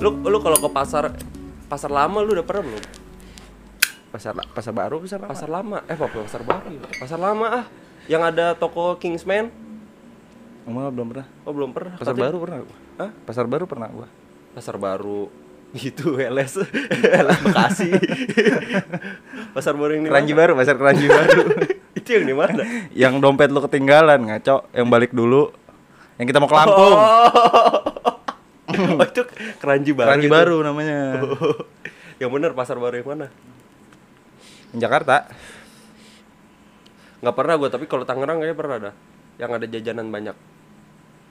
Lu lu kalau ke pasar pasar lama lu udah pernah belum? pasar pasar baru pasar lama Pasar lama. Eh, apa pasar baru? ya? Pasar lama ah. Yang ada toko Kingsman. Enggak, belum pernah Oh, belum pernah. pasar Katanya- baru pernah gua Hah? pasar baru pernah gua Pasar baru gitu LS LS Bekasi pasar baru yang di keranji mana? baru pasar keranji baru itu yang di mana yang dompet lu ketinggalan ngaco yang balik dulu yang kita mau ke Lampung Oh. Oh, itu keranji baru keranji itu. Oh, baru gitu. namanya Oh. yang bener pasar baru yang mana Yang Jakarta nggak pernah gue tapi kalau Tangerang kayaknya pernah dah yang ada jajanan banyak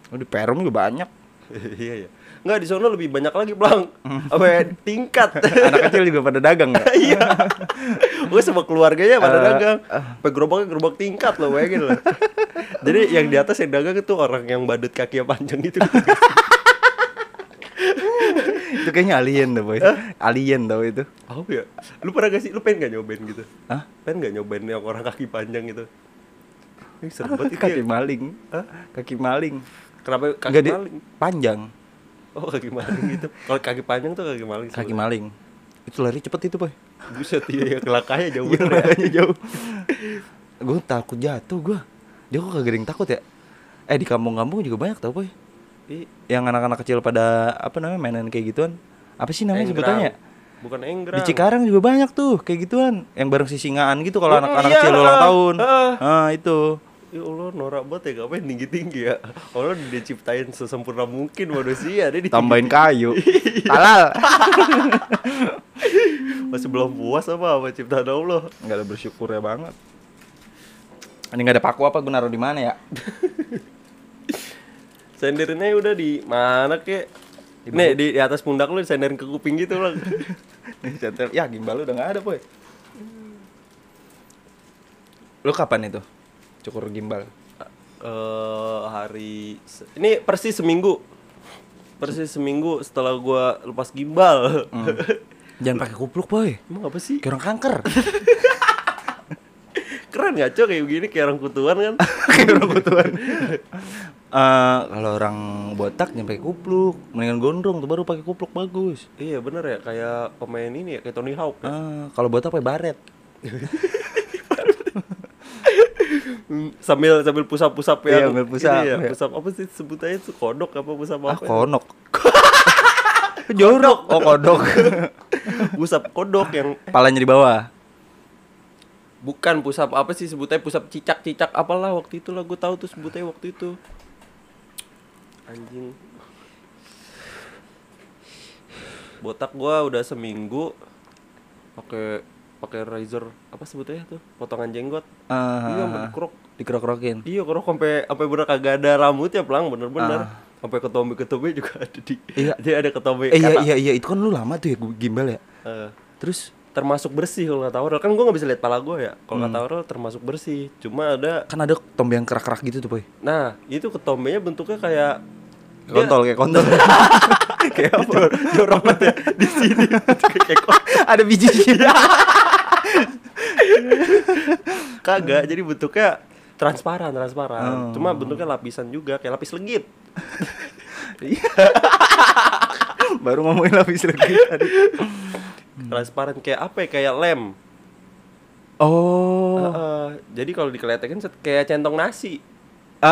Oh, di Perum juga banyak iya ya nggak di sana lebih banyak lagi blang apa tingkat anak kecil juga pada dagang ya iya gue sama keluarganya pada Eh, dagang Sampai gerobaknya gerobak tingkat loh bayangin loh jadi yang di atas yang dagang itu orang yang badut kakinya panjang gitu itu kayaknya alien tuh boy alien tau itu oh ya lu pernah gak sih lu pengen gak nyobain gitu Hah? pengen gak nyobain yang orang kaki panjang gitu ini seru banget itu kaki ya. maling Hah? kaki maling kenapa kaki Nggak, dia maling panjang oh kaki maling gitu kalau kaki panjang tuh kaki maling kaki maling itu lari cepet itu boy sebenarnya. buset iya ya kelakanya jauh Iya, bener ya makanya jauh. gue takut jatuh gue. Dia kok kagak ada yang takut ya? Eh di kampung-kampung juga banyak tau boy. Ih, Yang anak-anak kecil pada apa namanya mainan kayak gituan. Apa sih namanya Enggrang. sebutannya? bukan Di enggrang Cikarang juga banyak tuh kayak gituan. Yang bareng sisingaan gitu kalau Oh, anak-anak iya, kecil ulang ah, tahun. ah. Ah itu. Ya Allah, norak banget ya, ngapain tinggi-tinggi ya Allah diciptain sesempurna mungkin manusia Dia ditinggi- Tambahin kayu. Halal. Masih belum puas apa sama ciptaan Allah Enggak ada bersyukur ya banget. Ini nggak ada paku apa gue naruh di mana ya? Sendernya udah di mana kek Nih di, di atas pundak lu disenderin ke kuping gitu lah Nih, centel. ya gimbal lu udah nggak ada boy. Lu kapan itu? Cukur gimbal. Eh hari se- ini persis seminggu persis seminggu setelah gua lepas gimbal Jangan pakai kupluk boy. emang apa sih Kayak orang kanker. keren gak cok kayak begini kayak orang kutuan kan Kayak orang butuhan. Eh, kalau orang botak jangan pakai kupluk. Mendingan gondrong tuh baru pakai kupluk bagus. iya bener ya kayak pemain ini ya kayak Tony Hawk Eh, kalau botak pakai baret. Hmm, sambil sambil pusap-pusap yang Iya, sambil ini pusap, ya, iya. pusap apa sih sebutannya itu kodok apa pusap Ah apa ya? konok. Jorok. Oh kodok. pusap kodok yang Palanya di bawah. bukan pusap apa sih sebutannya pusap cicak-cicak apalah waktu itu lah gue tahu tuh sebutannya waktu itu anjing botak gua udah seminggu pakai pakai razor apa sebutnya tuh potongan jenggot Eh, iya sampai dikerok dikerok-kerokin. iya kerok sampai sampai bener kagak ada rambutnya pelang bener-bener Ah. sampai ketombe ketombe juga ada di Iya. dia ada ketombe Eh, iya kanan. iya iya itu kan lu lama tuh ya gu- gimbal ya. Eh, Terus termasuk bersih kalau kata Aurel kan gue nggak bisa lihat pala gue ya kalau Hmm. kata Aurel termasuk bersih cuma ada kan ada tombe yang kerak-kerak gitu tuh boy. nah itu ketombenya bentuknya kayak dia- Kontol kayak kontol. kayak apa jorok banget ya di sini kayak Iya. kok- ada bijinya. kagak jadi bentuknya transparan Oh. transparan cuma bentuknya lapisan juga kayak lapis legit Baru ngomongin lapis lagi tadi. Hmm. transparan kayak apa ya kayak lem Oh. Heeh. jadi kalau dikeliatin kayak centong nasi Ah,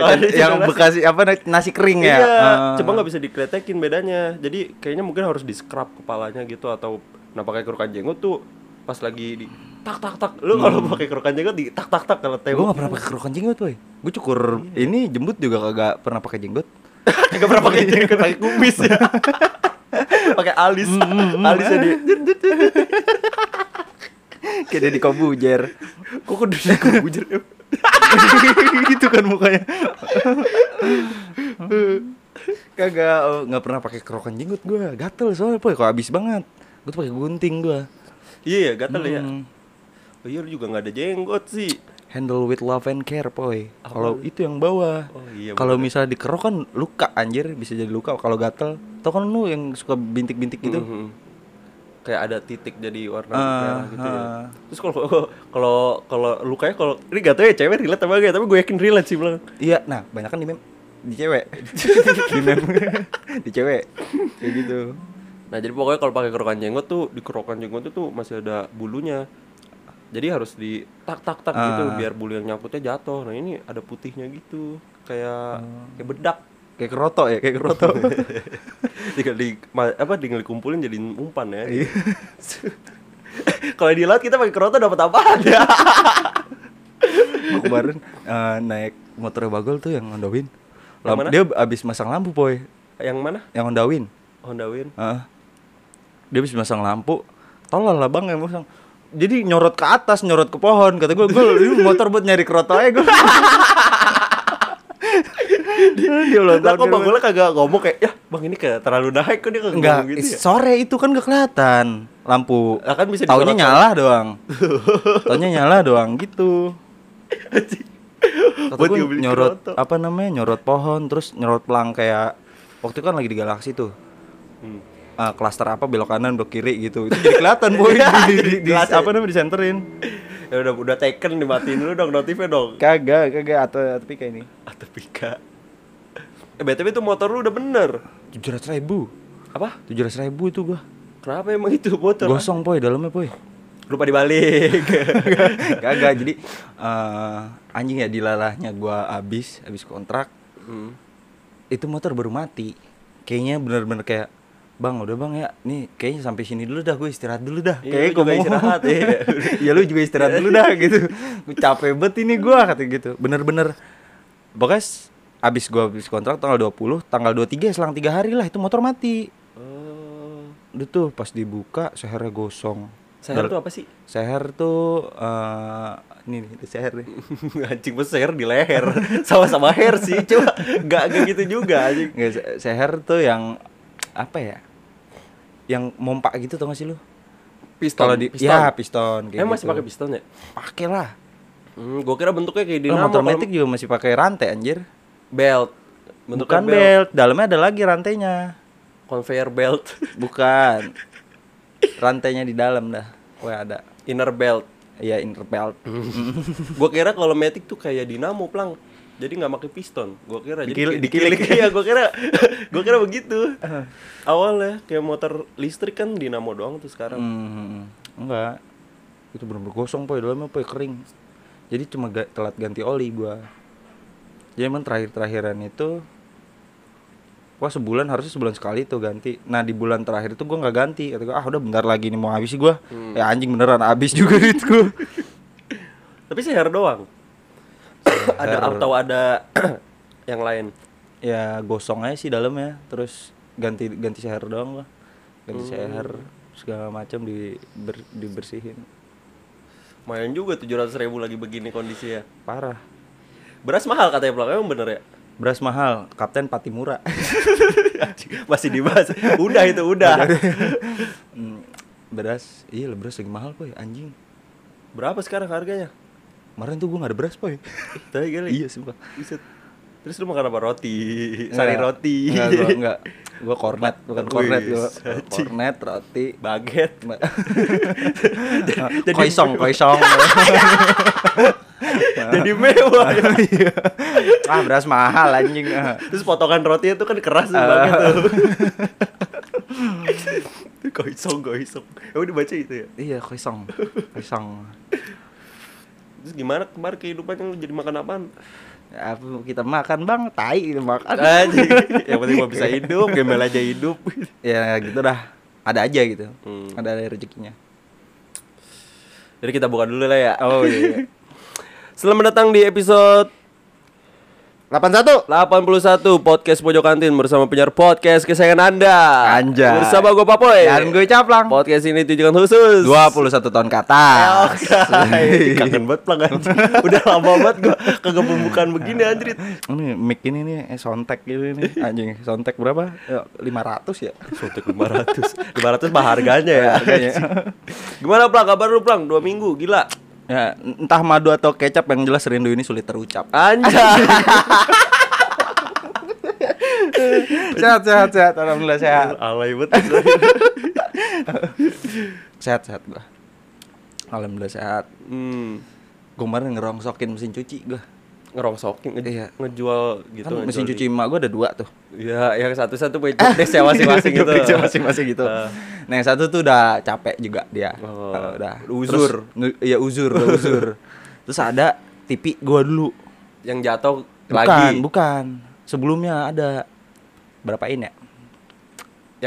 Ah, yang- ada yang nasi. bekasi apa na- nasi kering Iya, ya? Ah. cuma nggak bisa dikletekin bedanya. Jadi kayaknya mungkin harus di scrub kepalanya gitu atau nah pakai kerukan jenggot tuh pas lagi di tak tak tak. Lu kalau pakai kerukan jenggot di tak tak tak kalau Hmm. Gua tembok. nggak pernah pakai kerokan jenggot, boy. Gua cukur Iya. ini jembut juga kagak pernah pakai jenggot. Enggak pernah Iya. pakai jenggot, pakai kumis ya. pakai alis. Hmm, Alisnya di Kayak di kobujer. kok kudu dikubur. gitu kan mukanya. kagak oh, nggak pernah pakai kerokan jenggot gua. Gatel soalnya, boy. Kok habis banget. Gua tuh pakai gunting gua. Iya ya, gatel ya. Hmm. Oh, iya lu juga nggak ada jenggot sih. Handle with love and care, boy. Kalau itu yang bawah. Oh iya. kalau misalnya dikerok kan luka anjir bisa jadi luka kalau gatel. Tau kan lu yang suka bintik-bintik gitu. Mhm. kayak ada titik jadi warna Ah, merah gitu ya. ah. Terus kalau kalau ya, kalau lukanya kalau ini gak tau ya cewek relate apa enggak, tapi gue yakin relate sih bilang. Iya, nah banyak kan di meme di cewek di mem di cewek kayak gitu Nah jadi pokoknya kalau pakai kerokan jenggot tuh di kerokan jenggot itu tuh masih ada bulunya. Jadi harus di tak tak tak gitu Ah. biar bulu yang nyangkutnya jatuh. Nah ini ada putihnya gitu kayak Hmm. kayak bedak. kayak keroto ya kayak keroto Tinggal di ma- apa tinggal dikumpulin jadi umpan ya. Iya. kalau di laut kita pakai keroto dapat apaan ya? Iya. Gua kemarin eh, naik motor bagol tuh yang Honda Win Yang Lamp- mana? dia abis masang lampu boy Yang mana? yang Honda Win Honda Win. Heeh. dia bisa masang lampu tolol lah bang yang masang jadi nyorot ke atas nyorot ke pohon kata gue gue ini motor buat nyari keroto aja gue Iya, dia ulang Lah kok tahun Bang Bola kagak ngomong kayak, ya Bang ini kayak terlalu naik kok dia kagak enggak ngomong gitu ya? sore itu kan gak kelihatan lampu Lah kan bisa taunya disorot- nyala doang taunya nyala doang gitu Kata Buat gua dia beli nyorot keroto. apa namanya nyorot pohon terus nyorot pelang kayak waktu itu kan lagi di galaksi tuh Hmm. Ah, klaster apa belok kanan belok kiri gitu itu jadi kelihatan boy di, di, di- di- Jelas ya. apa namanya disenterin Ya udah udah taken dimatiin dulu dong notifnya dong. kagak kagak atau atau kayak ini Atau pika. Eh BTW itu motor lu udah bener. tujuh ratus ribu Apa? tujuh ratus ribu itu gua Kenapa emang itu motor? gosong boy dalamnya boy Lupa dibalik. kagak jadi eh, anjing ya dilalahnya gua abis abis kontrak hmm. itu motor baru mati kayaknya bener-bener kayak bang udah bang ya nih kayaknya sampai sini dulu dah gue istirahat dulu dah Iya, lu Kayaknya juga gua mau- istirahat, iya. iya lu juga istirahat dulu dah gitu gue capek banget ini gue kata gitu bener-bener pokoknya s- abis gue habis kontrak tanggal 20 tanggal 23 selang tiga hari lah itu motor mati Oh. udah tuh pas dibuka sehernya gosong Seher Dal- tuh apa sih? seher tuh eh ini nih ada seher nih anjing mah seher di leher. Sama-sama hair sih, cuma enggak enggak gitu juga anjing. Nggak, se- seher tuh yang apa ya? Yang mompa gitu tau gak sih lu? Pistol. Kalau di piston. ya piston kayak Emang masih gitu. pakai piston ya? Pakai lah. Hmm, gua kira bentuknya kayak Lu dinamo motor kalau- metik juga masih pakai rantai anjir. belt. Bentuknya Bukan belt. dalamnya ada lagi rantainya. Conveyor belt. Bukan. rantainya di dalam dah. Wah ada. Inner belt. Iya inner belt. gua kira kalau matic tuh kayak dinamo plang jadi nggak pakai piston gua kira Dikil- jadi dikilik. ya gua kira gua kira begitu awalnya kayak motor listrik kan dinamo doang tuh sekarang Hmm, enggak. Itu bener-bener gosong poy dalamnya poy kering. Jadi cuma ga- telat ganti oli gua. Jadi emang terakhir-terakhiran itu Wah sebulan harusnya sebulan sekali tuh ganti. Nah di bulan terakhir itu gua nggak ganti. Kata gua ah udah bentar lagi nih mau habis sih gua. Ya anjing beneran habis juga duit gua. tapi seher doang ada atau ada yang lain ya gosong aja sih dalamnya. Terus ganti ganti seher doang lah. Ganti seher segala macam di ber- dibersihin. main juga tujuh ratus ribu lagi begini kondisinya Parah. beras mahal katanya plang emang bener ya Beras mahal, Kapten Patimura. masih dibahas udah itu udah Hmm, beras iya lah beras lagi mahal poy anjing berapa sekarang harganya kemarin tuh gue gak ada beras poy Tapi kali iya sumpah Buset. terus lu makan apa roti sari roti enggak gua enggak gue kornet bukan kornet gue Wis, kornet roti baget Ma- Jadi- koisong koisong jadi mewah ya. ah beras mahal anjing ah. terus potongan rotinya tuh kan keras tuh Ah. banget tuh goisong goisong emang dibaca itu ya iya koisong koisong terus gimana kemarin kehidupannya lu jadi makan apaan Ya, apa kita makan bang tai kita makan Anjing. yang penting gua bisa hidup gembel aja hidup ya gitu dah ada aja gitu Hmm. ada ada rezekinya jadi kita buka dulu lah ya oh iya, iya. selamat datang di episode 81 81 podcast pojok kantin bersama penyiar podcast kesayangan anda Anjay. bersama gue papoy dan gue caplang podcast ini tujuan khusus 21 tahun ke Oh. atas Oke, kangen banget pelang anjing. Udah lama banget gua kagak pembukaan begini anjir. Ini mic ini nih eh, sontek gitu nih anjing sontek berapa? Lima ratus ya? Sotek 500. 500 mah harganya ya. Harganya. Gimana Plang? Kabar lu Plang? Dua minggu, gila. ya entah madu atau kecap yang jelas rindu ini sulit terucap. Anjay. sehat sehat sehat alhamdulillah sehat Alay banget. sehat sehat gua. Alhamdulillah sehat. Hmm. Gue kemarin ngerongsokin mesin cuci gua. ngerongsokin nge- Iya. ngejual gitu kan ngejual mesin di- cuci emak gue ada dua tuh Iya, yang satu-satu punya job desk ya masing-masing gitu. Job desk masing-masing gitu Ah. nah yang satu tuh udah capek juga dia Oh, Eh, udah uzur. Terus- nu- iya uzur udah uzur terus ada tipi gue dulu yang jatuh bukan lagi bukan sebelumnya ada berapa ini ya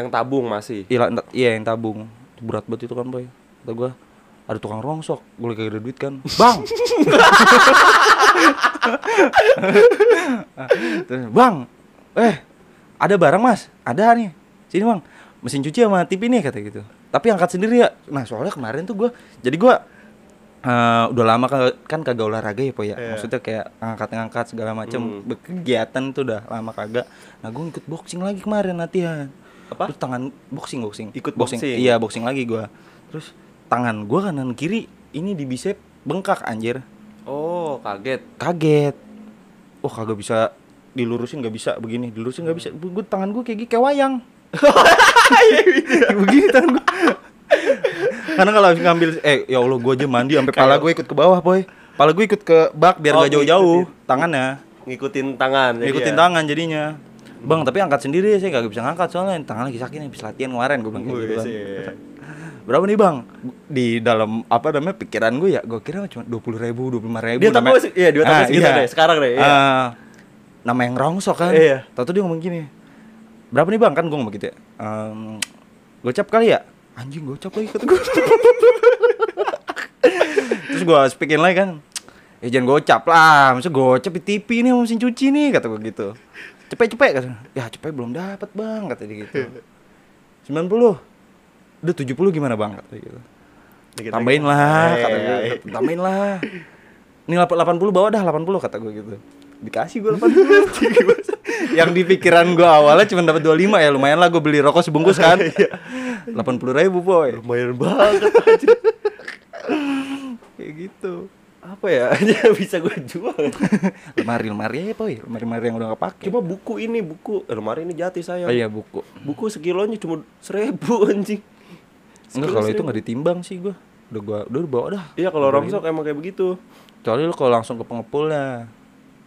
yang tabung masih. Iya, ent- iya yang tabung. Itu Berat banget itu kan, Boy. Kata gua, ada tukang rongsok, gue lagi gak ada duit kan. Bang. Terus, bang, eh ada barang Mas? Ada nih. Sini, Bang. Mesin cuci sama TV nih kata gitu. Tapi angkat sendiri ya. Nah, soalnya kemarin tuh gua jadi gua eh, udah lama kan, kan kagak olahraga ya, Boy ya. Iya. Maksudnya kayak ngangkat-ngangkat segala macem Hmm. berkegiatan tuh udah lama kagak. Nah, gua ngikut boxing lagi kemarin latihan Apa? terus tangan boxing boxing Ikut boxing. iya boxing lagi gua terus tangan gua kanan kiri ini di bicep bengkak anjir Oh, kaget. kaget oh kagak bisa dilurusin nggak bisa begini dilurusin nggak bisa gua, gua- tangan gua kayak gini, kayak wayang begini tangan gua karena kalau habis ngambil eh ya Allah gua aja mandi sampai pala gua ikut ke bawah boy pala gua ikut ke bak biar Oh, nggak jauh-jauh tangannya Ngikutin tangan. jadi ngikutin ya. tangan jadinya Bang, tapi angkat sendiri saya kagak bisa ngangkat soalnya tangan lagi sakit nih habis latihan kemarin gua bilang kayak Wih, gitu kan. sih. Berapa nih bang? Di dalam apa namanya pikiran gue ya, gue kira cuma dua puluh ribu, dua puluh lima ribu. Ah, Dia tambah se- iya, dia tambah segitu deh, sekarang deh, iya. nama yang rongsok kan? Iya. Tahu dia ngomong gini, berapa nih bang? Kan gue ngomong gitu ya. Ehm, gocap kali ya? Anjing gocap lagi kata gue. Terus gue speakin lagi kan, ya jangan gocap lah, maksud gocap di TV nih sama mesin cuci nih kata gue gitu. Cepet-cepet kata, ya cepet belum dapat bang kata dia gitu. 90 Udah 70 gimana bang? Kata dia gitu. Dikit Tambahin lagi. lah Eh, kata gue, eh, eh. Tambahin lah Ini lap- 80 bawa dah 80 kata gue gitu Dikasih gue 80 Yang di pikiran gue awalnya cuma dapat 25 ya Lumayan lah gue beli rokok sebungkus kan 80 ribu boy Lumayan banget anjir. Kayak gitu Apa ya? Ini bisa gue jual. Lemari-lemari ya boy Lemari-lemari yang udah gak pake Cuma buku ini buku eh, lemari ini jati saya. Oh iya buku Buku sekilonya cuma seribu anjing. Enggak Sekilo kalau itu seribu. gak ditimbang sih gue Udah gue udah bawa dah Iya kalau rongsok emang kayak begitu. Kecuali lu kalau langsung ke pengepul lah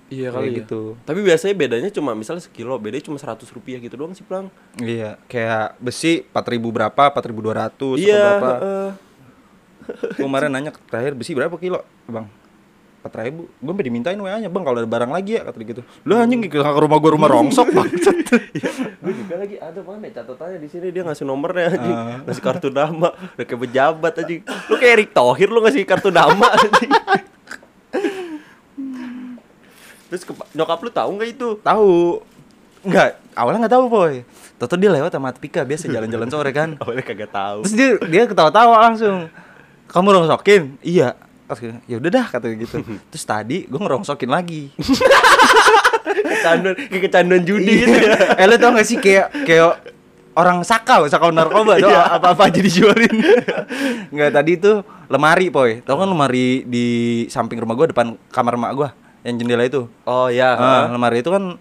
Iya Kayak kali ya. gitu. Tapi biasanya bedanya cuma misalnya sekilo, bedanya cuma 100 rupiah gitu doang sih, Plang. Iya, kayak besi 4000 berapa? 4200 Iya, atau berapa? heeh. Gua kemarin nanya terakhir besi berapa kilo, Bang? 4000. Gue sampai dimintain WA-nya, "Bang, kalau ada barang lagi ya," kata dia gitu. Lu anjing ke ke rumah gua rumah rongsok, Bang. gue juga lagi ada mana ya catatannya di sini dia ngasih nomornya anjing Ah. ngasih kartu nama udah kayak pejabat anjing lu kayak Erick Thohir lu ngasih kartu nama anjing terus kepa- nyokap lu tahu nggak itu tahu. Enggak, awalnya enggak tahu, Boy. Toto dia lewat sama Atika biasa jalan-jalan sore kan. awalnya kagak tahu Terus dia dia ketawa-tawa langsung. Kamu rongsokin? Iya. Oke, ya udah dah kata dia gitu. Terus tadi gue ngerongsokin lagi. kecanduan kayak kecanduan judi gitu ya Iya. eh lu tau gak sih kayak kayak orang sakau, sakau narkoba tuh Iya. apa-apa aja dijualin. Enggak tadi itu lemari, Poy. Tau kan lemari di samping rumah gua depan kamar emak gua yang jendela itu. oh ya Ah, lemari itu kan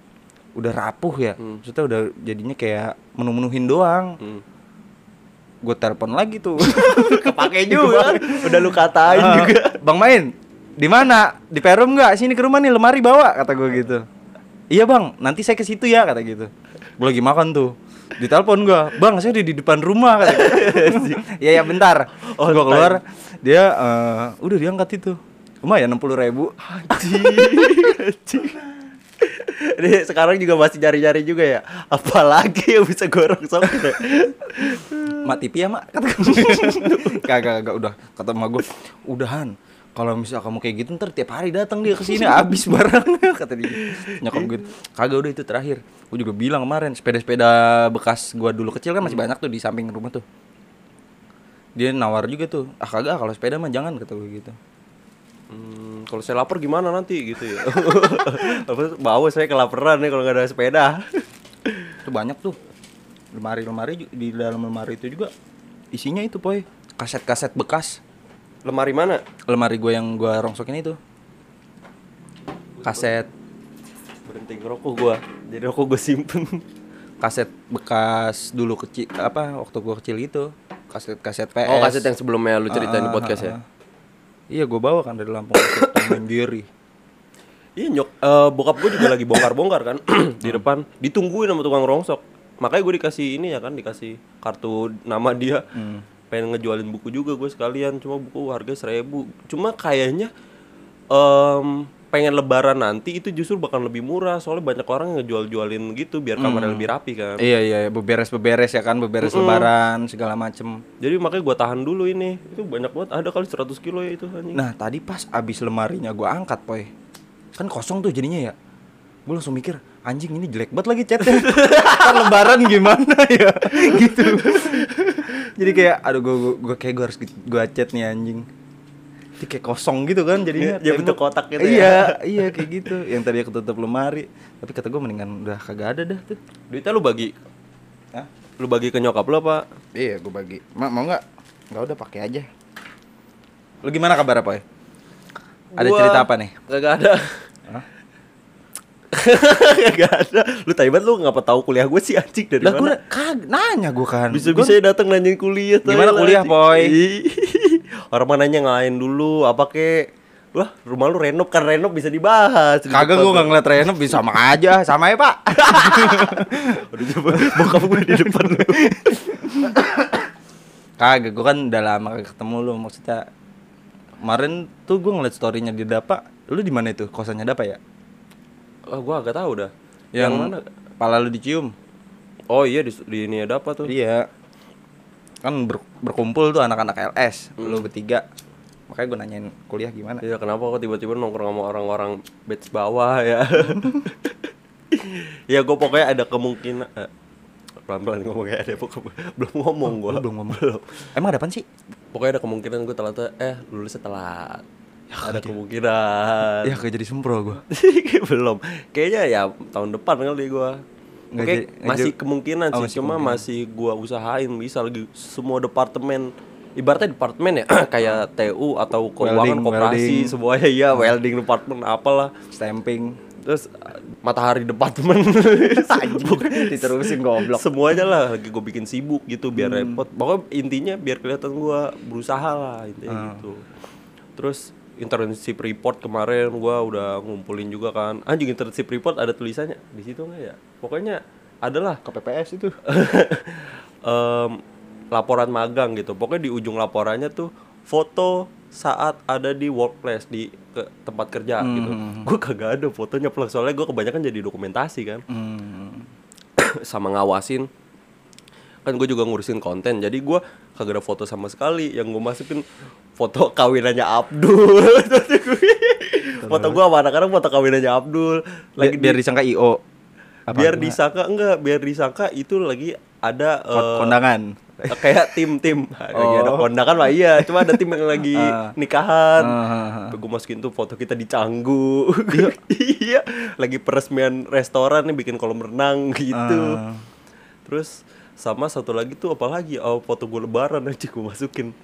udah rapuh ya. Maksudnya udah jadinya kayak menu-menuhin doang. Hmm. Gue telepon lagi tuh. kepake juga kan. udah lu katain Ah, juga Bang Main, di mana? Di perum nggak? Sini ke rumah nih, lemari bawa kata gue gitu. Iya bang, nanti saya ke situ ya kata gitu. Gue lagi makan tuh. Ditelepon gua, bang saya udah di depan rumah kata gitu. ya ya bentar. On gue keluar, dia eh, udah diangkat itu. Lumayan enam puluh ribu. anjing anjing Ini sekarang juga masih nyari-nyari juga ya Apalagi yang bisa gorong ya. sampai Mak TV ya mak kata gue. kagak kagak udah kata emak gue udahan kalau misal kamu kayak gitu ntar tiap hari datang dia ke sini habis barangnya kata dia nyokap gue kagak udah itu terakhir gue juga bilang kemarin sepeda-sepeda bekas gua dulu kecil kan masih banyak tuh di samping rumah tuh dia nawar juga tuh ah kagak ah, kalau sepeda mah jangan kata gue gitu Hmm, kalau saya lapar gimana nanti gitu ya. Apa bawa saya kelaparan nih kalau nggak ada sepeda. itu banyak tuh lemari-lemari ju- di dalam lemari itu juga isinya itu poy kaset-kaset bekas Lemari mana? lemari gue yang gua rongsokin itu kaset Berhenti ngerokok gua. Jadi rokok gua simpen. kaset bekas dulu kecil apa waktu gua kecil itu kaset kaset PS Oh, kaset yang sebelumnya Ah, lu ceritain di podcast ya. iya gua bawa kan dari Lampung kaset Tom and Jerry Iya nyok, eh, bokap gue juga lagi bongkar-bongkar kan di depan, ditungguin sama tukang rongsok. Makanya gue dikasih ini ya kan, dikasih kartu nama dia. Pengen ngejualin buku juga gue sekalian, cuma buku harga seribu. Cuma kayaknya em, pengen lebaran nanti itu justru bakal lebih murah, soalnya banyak orang yang ngejual-jualin gitu biar kamarnya lebih rapi kan. Iya iya iya, beberes beberes ya kan beberes lebaran segala macem. Jadi makanya gue tahan dulu ini. Itu banyak banget, ada kali 100 kilo ya itu anjing. Nah tadi pas abis lemarinya gua angkat poy Kan kosong tuh jadinya ya Gue langsung mikir anjing ini jelek banget lagi chatnya Ntar lebaran gimana ya gitu Jadi kayak aduh gue gue kayak gue harus gue chat nih anjing Jadi kayak kosong gitu kan jadinya Ya, ya bentuk tembok. kotak gitu ya. Iya iya kayak gitu Yang tadi ketutup lemari Tapi kata gue mendingan udah kagak ada dah tuh Duitnya lu bagi, Hah? lu bagi ke nyokap lu apa? Iya gue bagi Ma, Mau nggak? Nggak udah pakai aja Lu gimana kabar apa Ada Gua- cerita apa nih? Kagak ada. Hah? Kagak ada. Lu tai banget lu ngapa tahu kuliah gue sih anjing dari Lah gue mana? ya? nanya gue kan. Bisa-bisa datang nanyain kuliah. tai Gimana lah, kuliah, anjing. Poy? Ih, Orang mana nanya ngalahin dulu apa kek? Wah, rumah lu renov kan renov bisa dibahas. Gua- kagak gue nggak ngeliat Reno bisa sama aja, sama ya Pak. Udah coba bokap gue di depan lu. kagak gue kan udah lama kagak ketemu lu maksudnya. Kemarin tuh gue ngeliat storynya di Dapa. Lu di mana itu? Kosannya Dapa ya? Ah, gue agak tahu dah. Pala lu dicium. Oh iya di, di ini ada apa tuh? Iya. Kan ber- berkumpul tuh anak-anak LS, Hmm. lu bertiga. Makanya gue nanyain kuliah gimana. Iya kenapa kok tiba-tiba nongkrong sama orang-orang batch bawah ya? ya gue pokoknya ada kemungkinan eh, pelan-pelan ngomong kayak ada pokoknya belum ngomong gue Lu belum ngomong. Emang ada apa sih? pokoknya ada kemungkinan gue telat eh lulusnya telat iya. ada kemungkinan Ya kayak jadi sempro gue. belum kayaknya ya tahun depan kali gue Nggak Oke, jadi- nggak masih jadi- kemungkinan Oh, sih, masih cuma masih gua usahain bisa lagi semua departemen ibaratnya departemen ya kayak TU atau Ah. Welding, keuangan koperasi welding. Ah. semuanya ya welding departemen apalah Stamping. terus uh, matahari departemen Diterusin goblok. semuanya lah lagi gue bikin sibuk gitu biar repot pokoknya intinya biar kelihatan gue berusaha lah intinya gitu terus internship report kemarin gue udah ngumpulin juga kan anjing internship report ada tulisannya di situ nggak ya pokoknya adalah KPPS itu. em, laporan magang gitu pokoknya di ujung laporannya tuh foto saat ada di workplace di ke- tempat kerja gitu gue kagak ada fotonya plak soalnya gue kebanyakan jadi dokumentasi kan Hmm. sama ngawasin kan gue juga ngurusin konten jadi gue kagak ada foto sama sekali yang gue masukin foto kawinannya Abdul foto gue sama anak-anak foto kawinannya Abdul Lagi lagi biar disangka IO. Apa biar gimana? disangka enggak biar disangka itu lagi ada Kon- eh, kondangan. kayak tim-tim lagi ada Oh. kondangan lah iya cuma ada tim yang lagi Ah. nikahan Ah. gue masukin tuh foto kita di Canggu iya lagi peresmian restoran nih bikin kolam renang gitu Ah. terus sama satu lagi tuh apalagi oh, foto gue lebaran aja gue masukin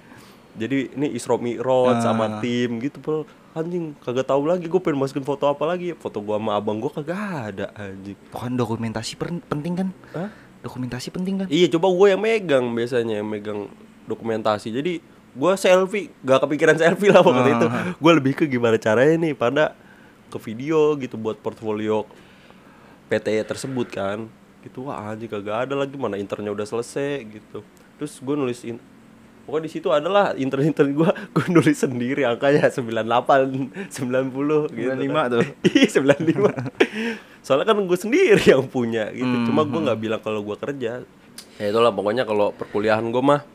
jadi ini Isra Mi'raj Ah. sama tim gitu pel anjing kagak tahu lagi gue pengen masukin foto apa lagi foto gue sama abang gue kagak ada anjing Bukan dokumentasi per- penting kan? Hah? Dokumentasi penting kan? Iya coba gue yang megang biasanya yang megang dokumentasi. Jadi gue selfie gak kepikiran selfie lah waktu itu. Gue lebih ke gimana caranya nih pada ke video gitu buat portfolio PT tersebut kan. Gitu wah anjing kagak ada lagi mana internnya udah selesai gitu. Terus gue nulis in- Pokoknya di situ adalah intern-intern gue, gue nulis sendiri angkanya 98, 90 gitu. 95 tuh. Iya 95 Soalnya kan gue sendiri yang punya gitu Cuma gue nggak bilang kalau gue kerja Ya itulah pokoknya kalau perkuliahan gue mah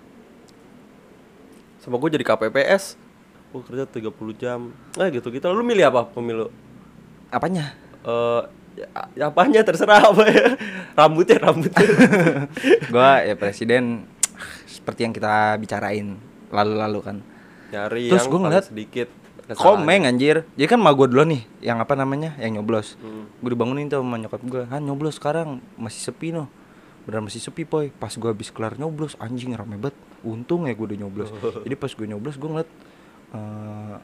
Sama gue jadi KPPS Gue kerja 30 jam Nah gitu-gitu Lu milih apa pemilu? Apanya? Eh ya, apanya terserah apa ya Rambutnya, rambutnya gua ya presiden seperti yang kita bicarain lalu-lalu kan. Nyari Terus yang gua paling ngeliat sedikit kesalahan. Komeng anjir. Jadi kan mah gua dulu nih yang apa namanya? Yang nyoblos. Gue dibangunin tuh sama nyokap gua. Han nyoblos sekarang masih sepi noh. Beneran masih sepi poy. Pas gua habis kelar nyoblos anjing rame banget. Untung ya gua udah nyoblos. Jadi pas gue nyoblos gua ngeliat eh,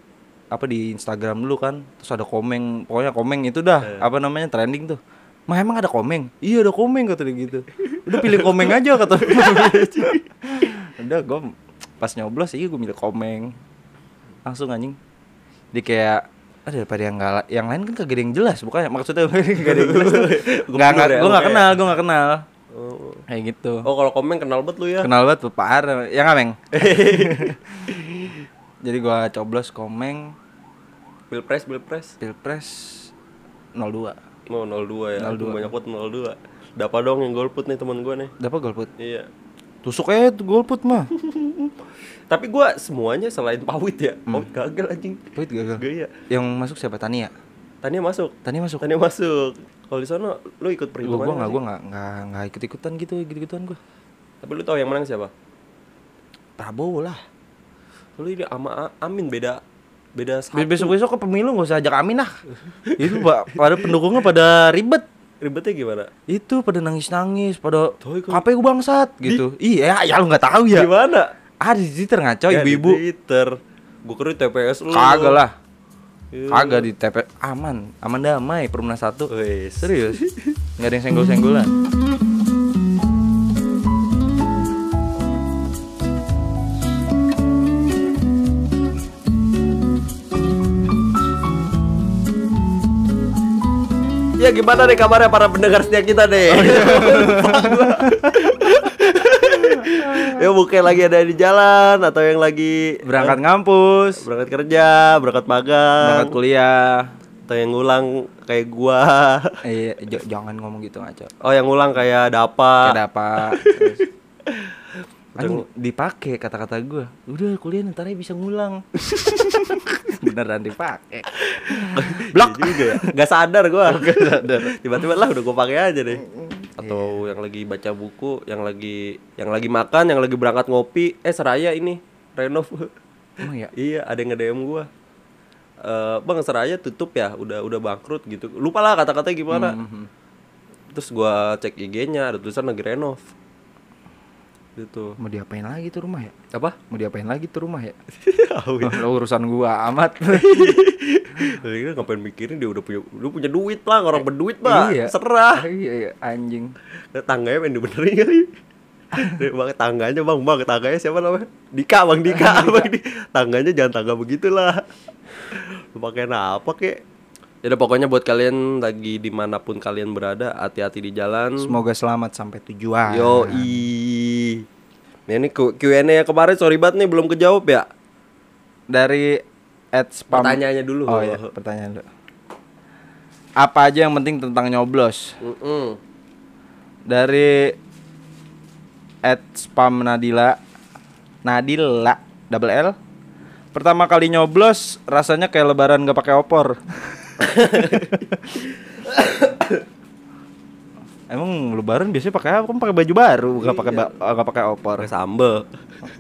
apa di Instagram dulu kan terus ada komeng pokoknya komeng itu dah apa namanya trending tuh Mah emang ada komeng? Iya ada komeng kata dia gitu Udah pilih komeng aja kata dia. Udah gue pas nyoblos iya gue milih komeng Langsung anjing Dia kayak ah, daripada yang nggak la- yang lain kan kagak ada yang jelas bukannya maksudnya kagak ada yang jelas tuh. Gua nggak bener ya, gue pokoknya. nggak kenal gue nggak kenal Oh, kayak gitu Oh, kalau komen kenal banget lu ya. kenal banget tuh parah ya nggak meng jadi gue coblos komeng Pilpres, Pilpres. pilpres 02 Mau 02 ya. 02. 02. Banyak banget 02. Dapa dong yang golput nih teman gua nih. dapat golput Iya. tusuk eh tuh golput mah Tapi gua semuanya selain pawit ya. Hmm. Pawit gagal anjing. Pawit gagal. Gaya. yang masuk siapa Tania Tania masuk. Tania masuk Tania masuk. Kalau di sana lu ikut Gua perhitungan. gue nggak sih? gue nggak nggak nggak ikut ikutan gitu gitu gituan gue Tapi lu tahu yang menang siapa? Prabowo lah Lu ini sama A- Amin beda beda satu. besok besok ke pemilu nggak usah ajak Amin lah itu pak pada pendukungnya pada ribet Ribetnya gimana? itu pada nangis nangis pada Tuh, ikut. KPU bangsat gitu iya ya lu nggak tahu ya Gimana? ah di Twitter ngaco Ya, di ibu-ibu Twitter. Gua kira di TPS lu. kagak lah Iya. kagak di TP aman aman damai Perumnas satu Wes. serius nggak ada yang senggol senggolan Ya gimana nih kabarnya para pendengar setia kita deh. ya mungkin lagi ada di jalan atau yang lagi eh, berangkat ngampus berangkat kerja, berangkat magang, berangkat kuliah atau yang ngulang kayak gua. eh j- jangan ngomong gitu ngaco Oh yang ngulang kayak Dapa. ada apa Terus, anjing, dipakai kata-kata gue udah kuliah ntar aja bisa ngulang beneran dipakai Blok juga ya. Gak sadar gua. Tiba-tiba lah udah gua pakai aja deh. Atau yang lagi baca buku, yang lagi yang lagi makan, yang lagi berangkat ngopi, eh seraya ini Renov. emang ya Iya, ada yang nge-DM gua. Eh, bang Seraya tutup ya, udah udah bangkrut gitu. Lupa lah kata-katanya gimana. Hmm, Terus gua cek IG-nya ada tulisan lagi renov. Gitu. mau diapain lagi tuh rumah ya Apa? mau diapain lagi tuh rumah ya Awi. lo urusan gua amat Lagi kan ngapain mikirin dia udah punya lu punya duit lah, orang berduit mah. Serah. iya, iya, anjing Nah, tangganya pengen dibenerin kali. Dari bang tangganya bang bang tangganya siapa namanya Dika bang Dika bang Dika. tangganya jangan tangga begitulah lu pakai apa kek ya udah pokoknya buat kalian lagi dimanapun kalian berada hati-hati di jalan semoga selamat sampai tujuan yo i Nah, ini Q- Q&A yang kemarin sorry banget nih belum kejawab ya dari at spam Pertanyaannya dulu. oh iya pertanyaan dulu apa aja yang penting tentang nyoblos Mm-mm. dari at spam Nadila Nadila double L pertama kali nyoblos rasanya kayak lebaran gak pakai opor emang lebaran biasanya pakai apa? Kamu pakai baju baru gak pakai ba- gak pakai opor pakai sambel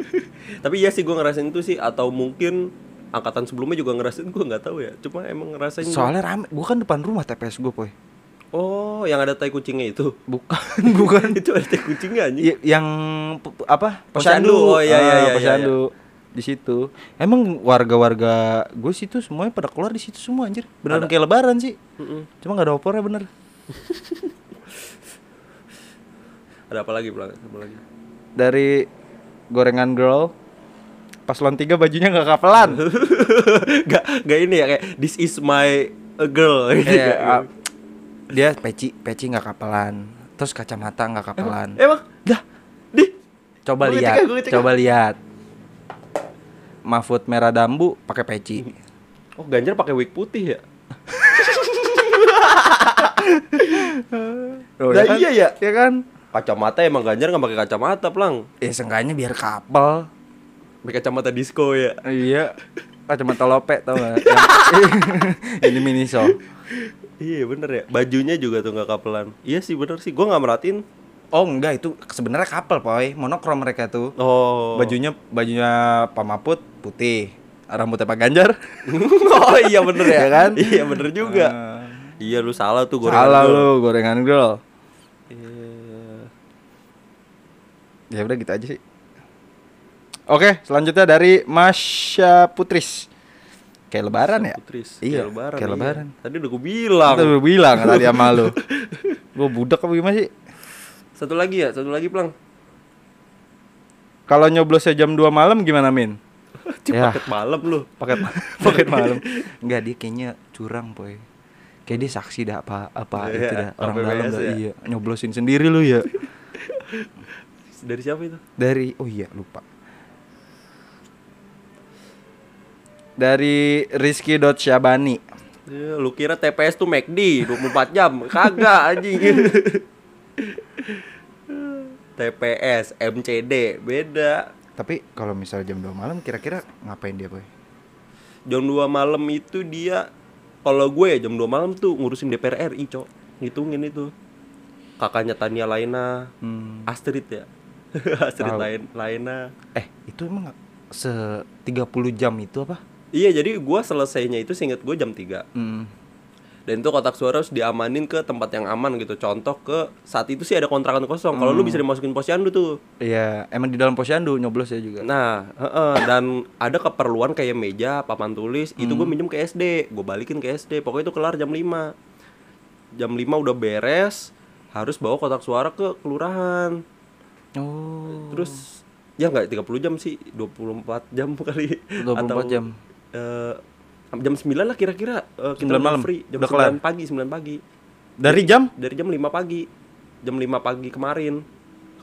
tapi ya sih gue ngerasain itu sih atau mungkin angkatan sebelumnya juga ngerasain gue nggak tahu ya cuma emang ngerasain gua. soalnya rame gua kan depan rumah TPS gue poy oh yang ada tai kucingnya itu bukan bukan itu ada tai kucingnya anjing Y- yang p- p- apa Posyandu. Oh, iya, Ah, iya, iya, posyandu di situ emang warga-warga gue situ semuanya pada keluar di situ semua anjir beneran kayak lebaran sih cuma nggak ada opornya bener ada apa lagi Blang? apa lagi dari gorengan girl paslon tiga bajunya nggak kapelan gak gak ini ya kayak this is my a girl gitu Eh, nggak? ah, dia peci peci nggak kapelan terus kacamata nggak kapelan emang dah di coba Eh, Gua ngecek lihat ya, gua ngecek coba lihat Mahfud merah dambu pakai peci oh Ganjar pakai wig putih ya Loh, Lah iya ya. ya kan kacamata emang Ganjar nggak pakai kacamata plang ya seenggaknya biar kapel pakai kacamata disco ya iya kacamata lopek tau gak ini miniso iya bener ya bajunya juga tuh nggak kapelan iya sih bener sih gua nggak merhatiin oh enggak itu sebenarnya kapel poy monokrom mereka tuh oh bajunya bajunya Pak Mahfud putih rambutnya Pak Ganjar oh iya bener ya Iya kan? iya bener juga iya lu salah tuh gorengan salah gua. lu gorengan girl Iya. ya udah gitu aja sih oke selanjutnya dari Masya Putris kayak lebaran ya Putris iya kayak lebaran kayak iya. lebaran tadi udah gua bilang Itu lu bilang tadi sama lu Gue budak apa gimana sih? satu lagi ya satu lagi plang Kalau nyoblosnya jam 2 malam gimana Min? Cip, Ya. paket malam lu. paket ma- paket malam nggak dia kayaknya curang poy kayak dia saksi dah apa apa Iya, itu dah orang PPS dalam dah ya. iya nyoblosin sendiri lu ya Dari siapa itu? dari oh iya lupa dari Rizky Dot Syabani Ya, lu kira TPS tuh McD 24 jam? Kagak anjing. TPS, MCD, beda. tapi kalau misalnya jam 2 malam kira-kira ngapain dia boy Jam 2 malam itu dia kalau gue ya, jam 2 malam tuh ngurusin DPR RI, Cok. Ngitungin itu. Kakaknya Tania Laina, Hmm. Astrid ya. Astrid Tahu. Lain Laina. eh itu emang nggak- se 30 jam itu apa Iya, jadi gua selesainya itu seinget gue jam 3. Hmm. Dan itu kotak suara harus diamanin ke tempat yang aman gitu. Contoh ke saat itu sih ada kontrakan kosong. Kalau lu Hmm. bisa dimasukin posyandu tuh. Iya, emang di dalam posyandu nyoblos ya juga. Nah, heeh, dan ada keperluan kayak meja, papan tulis, itu gue Hmm. minjem ke SD, gue balikin ke SD. Pokoknya itu kelar jam 5. Jam 5 udah beres, harus bawa kotak suara ke kelurahan. Oh. Terus ya nggak 30 jam sih, 24 jam kali 24 jam. eh, jam 9 lah kira-kira eh, kita udah 9 malam? free jam Udah kelar? 9 pagi, 9 pagi. Dari jam? Dari jam 5 pagi. Jam 5 pagi kemarin.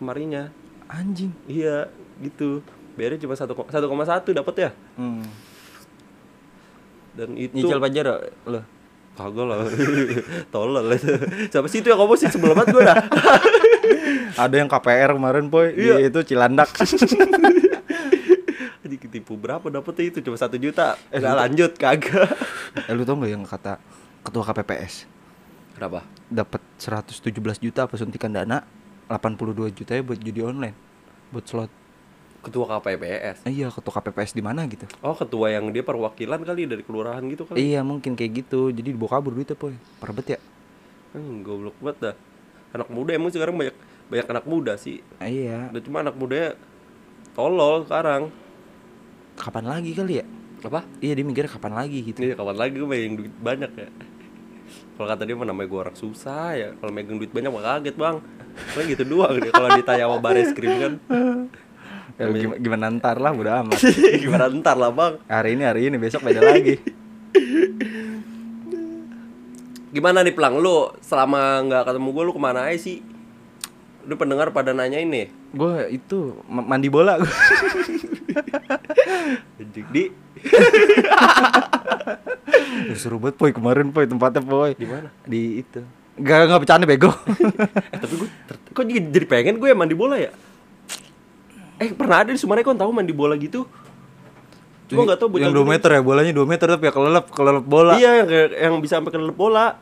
Kemarinnya. Anjing. Iya, gitu. Bayarnya cuma 1,1 dapat ya? Hmm. dan itu Nyicil pajar lo. kagak lah tolol itu siapa sih itu yang ngomong sih sebelum banget gue dah Ada yang KPR kemarin, boy. Iya. Itu Cilandak. Anjing, ketipu berapa dapetnya itu cuma satu juta nggak lanjut kagak eh, lu tau gak yang kata ketua KPPS kenapa dapat 117 juta apa suntikan dana 82 juta ya buat judi online buat slot. ketua KPPS Eh, iya, ketua KPPS di mana gitu. oh ketua yang dia perwakilan kali dari kelurahan gitu kan Iya, mungkin kayak gitu. Jadi dibawa kabur duitnya, boy. Perbet ya? hmm, goblok banget dah anak muda emang sekarang banyak banyak anak muda sih Eh, iya. udah cuma anak muda tolol sekarang Kapan lagi kali ya? apa Iya, dia mikir kapan lagi gitu. ini kapan Iya, lagi gue main duit banyak ya kalau kata dia mah namanya gue orang susah ya kalau megang duit banyak mah kaget bang Paling gitu doang dia kalau ditanya sama baris krim kan Ya, gimana, gimana ntar lah, udah amat. gimana ntar lah bang hari ini hari ini besok beda lagi gimana nih pelang lu selama nggak ketemu gue lu kemana aja sih lu pendengar pada nanyain nih gue itu ma- mandi bola gua. Anjing, di Eh, seru banget poy kemarin poy tempatnya poy di mana di itu gak nggak bercanda bego eh tapi gue ter- kok jadi, jadi pengen gue mandi bola ya eh pernah ada di Sumarekon tahu mandi bola gitu cuma nggak tahu bocah yang 2 gede. meter ya bolanya 2 meter tapi ya kelelep kelelep bola iya yang, kayak- yang bisa sampai ke dalam bola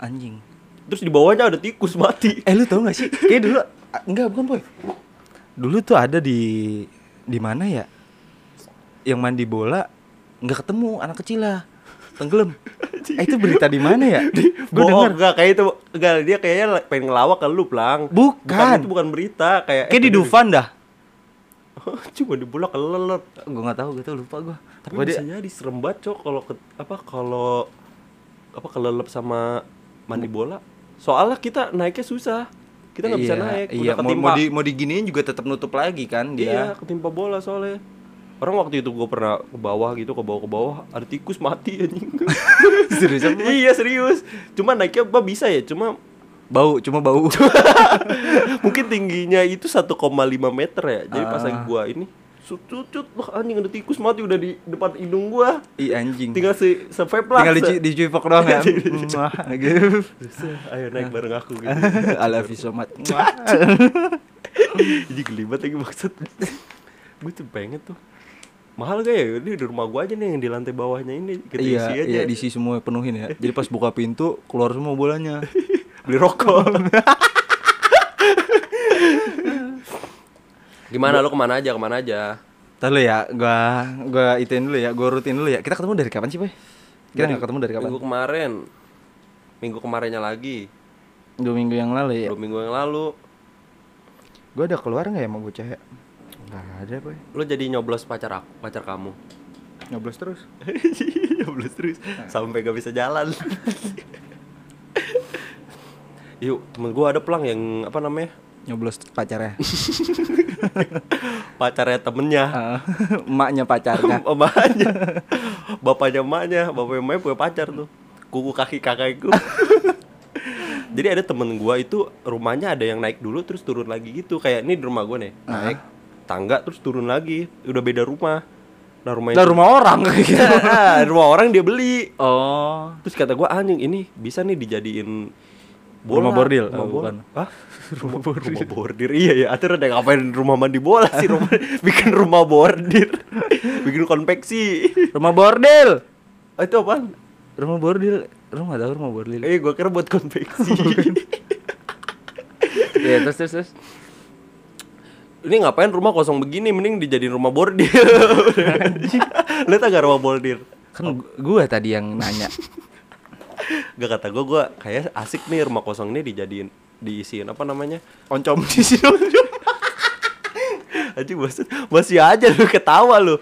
anjing terus di bawahnya ada tikus mati eh lu tau gak sih kayak dulu ah, enggak bukan poy dulu tuh ada di di mana ya yang mandi bola nggak ketemu anak kecil lah tenggelam eh, itu berita di mana ya gue Bohong, dengar enggak kayak itu enggak dia kayaknya la- pengen ngelawak ke lu pelang Bukan. itu bukan berita kayak kayak di Dufan dah cuma di bola kelelet gue nggak tahu gue tuh lupa gue tapi biasanya di serem banget cok kalau ke, apa kalau apa kelelep sama mandi bola soalnya kita naiknya susah kita nggak bisa Iya, naik Iya, udah mau, ketimpa mau, di, mau diginiin juga tetap nutup lagi kan iya dia. ketimpa bola soalnya orang waktu itu gue pernah ke bawah gitu ke bawah ke bawah ada tikus mati anjing Serius apa? iya serius cuma naiknya bah bisa ya cuma Bau, cuma bau. Mungkin tingginya itu 1,5 meter ya. Jadi pas Ah. lagi gua ini sucut-cut wah anjing ada tikus mati udah di depan hidung gua. Ih anjing. Tinggal Iya, se se vape lah. Tinggal se- di, di cuipok doang ya. Mwah, gitu. se- Ayo Nah. naik bareng aku gitu. I love you so much. Jadi gelibat lagi maksud. gua tuh pengen tuh. Mahal gak ya? Ini di rumah gua aja nih yang di lantai bawahnya ini kita iya, isi gitu aja. iya diisi semua penuhin ya. Jadi pas buka pintu keluar semua bolanya. Beli rokok. Gimana lu kemana aja kemana aja? Tahu lu ya, gua gua ituin dulu ya, gua rutin dulu ya. Kita ketemu dari kapan sih, Boy? Kita nggak ketemu dari kapan? Minggu kemarin. Minggu kemarinnya lagi. Dua minggu yang lalu ya. Dua minggu yang lalu Gua ada keluar nggak ya sama bocah ya? Nggak ada, Boy. lu jadi nyoblos pacar aku, pacar kamu. Nyoblos terus. nyoblos terus sampai gak bisa jalan. Yuk, temen gua ada pelang yang apa namanya? Nyoblos pacarnya. pacarnya temennya emaknya pacarnya emaknya bapaknya emaknya bapaknya emaknya punya pacar tuh kuku kaki kakakku jadi ada temen gua itu rumahnya ada yang naik dulu terus turun lagi gitu kayak ini di rumah gua nih naik tangga terus turun lagi udah beda rumah nah rumah lah rumah orang kayak gitu Ah, rumah orang dia beli oh terus kata gua "Ah, anjing ini bisa nih dijadiin bola. Rumah bordil? rumah Oh, bola. bukan. Hah? rumah bordir rumah bordir iya ya atur ada ngapain rumah mandi bola sih rumah bikin rumah bordir bikin konveksi rumah bordil Ah, itu apaan? rumah bordil rumah tahu rumah bordil eh gua kira buat konveksi ya terus terus terus ini ngapain rumah kosong begini mending dijadiin rumah bordir lihat agak rumah bordir kan gu- gua tadi yang nanya gak kata gua gua kayak asik nih rumah kosong ini dijadiin diisiin apa namanya oncom diisiin oncom Aji maksud masih aja lu ketawa lu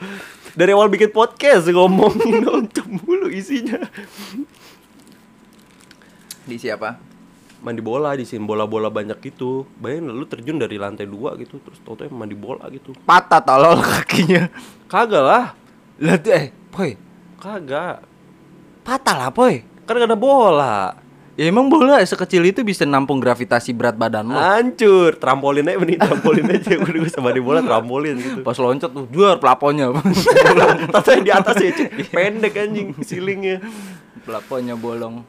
dari awal bikin podcast ngomongin oncom mulu isinya di siapa mandi bola diisiin bola-bola banyak gitu bayangin lu terjun dari lantai dua gitu terus tau mandi bola gitu patah tolol kakinya kagak lah lah tuh, eh boy kagak patah lah boy kan gak ada bola ya emang bola sekecil itu bisa nampung gravitasi berat badan lo Hancur, trampolin aja mending trampolin aja udah gue sama di bola trampolin gitu. pas loncat tuh juar pelaponnya Tata yang di atas ya, Cik. pendek anjing silingnya. pelaponnya bolong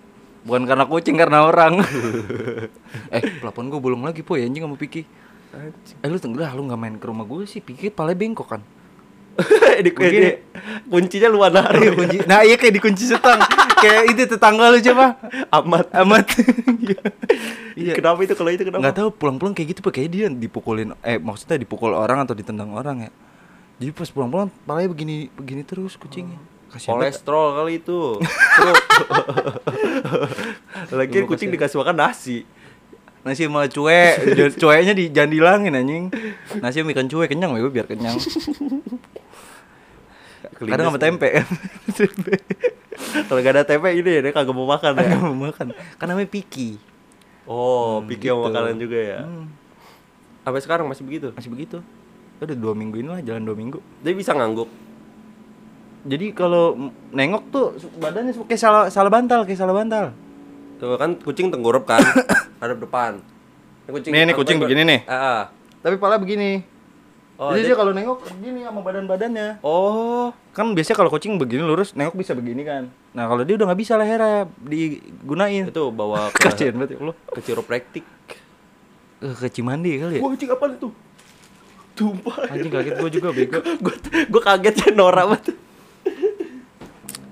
bukan karena kucing karena orang eh pelapon gue bolong lagi boy anjing sama Piki eh lu tenggelam lu nggak main ke rumah gue sih Piki palanya bengkok kan di, di, kuncinya lu naruh Iya, kunci. Nah iya kayak dikunci setang Kayak itu tetangga lu coba amat. Amat Iya. Kenapa itu kalau itu kenapa? Gak tahu pulang-pulang kayak gitu Kayak dia dipukulin Eh maksudnya dipukul orang atau ditendang orang ya Jadi pas pulang-pulang Palanya begini begini terus kucingnya Kasihan banget. Kolesterol kali itu. Lagi kucing dikasih makan nasi. Nasi sama cuek J- Cueknya di, jangan dihilangin anjing Nasi sama ikan cuek kenyang gue biar kenyang Kelindes. Kadang sama tempe Tempe Kalau gak ada tempe ini ya dia kagak mau makan ya. Kagak mau makan Kan namanya Piki Oh, pikir sama gitu. makanan juga ya. Hmm, Sampai sekarang masih begitu. Masih begitu Ya Udah dua minggu ini lah jalan dua minggu Dia bisa ngangguk. Jadi kalau m- nengok tuh su- badannya su- kayak salah salah bantal, kayak salah bantal. Tuh kan kucing tenggorok kan, hadap depan. Ini kucing, Nih, nih, kucing begini nih. Ah, ah. Tapi pala begini. Oh, Jadi dia- dia kalau nengok begini sama badan-badannya. oh, Kan biasanya kalau kucing begini lurus, nengok bisa begini kan. Nah, kalau dia udah nggak bisa lehernya digunain. itu bawa ke Kasihan banget ya Allah. ke chiropraktik. Eh, Ke Cimandi kali ya. Wah, kucing apa itu? Tumpah. Anjing kaget gua juga bego. Gue gue kaget ya Nora banget.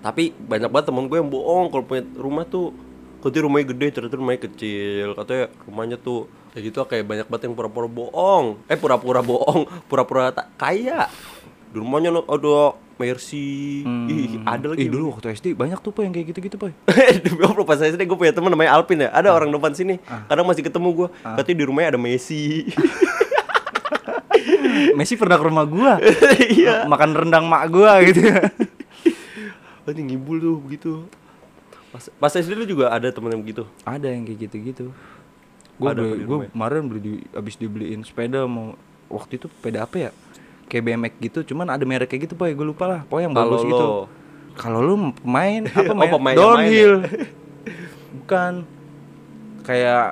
Tapi banyak banget temen gue yang bohong kalau punya rumah tuh Katanya rumahnya gede, ternyata rumahnya kecil Katanya rumahnya tuh Kayak gitu kayak banyak banget yang pura-pura bohong Eh pura-pura bohong, pura-pura tak kaya Di rumahnya no- ada Mercy Hmm. Ih ada lagi Ih, dulu waktu SD banyak tuh, Pak, yang kayak gitu-gitu, Pak. Demi Allah pas SD gue punya teman namanya Alvin ya Ada orang depan sini Kadang masih ketemu gue Katanya di rumahnya ada Messi Messi pernah ke rumah gua. Iya Makan rendang mak gua gitu. Ini ngibul tuh begitu Pas, pas SD lu juga ada temen yang begitu ada yang kayak gitu-gitu gue Ada apa beli di gue rumah ya? kemarin beli di, abis dibeliin sepeda mau waktu itu sepeda apa ya kayak BMX gitu cuman ada merek kayak gitu boy gue lupa lah pokoknya yang Kalau bagus lo- gitu kalau lu pemain apa Oh, pemain main, yang main ya? downhill bukan kayak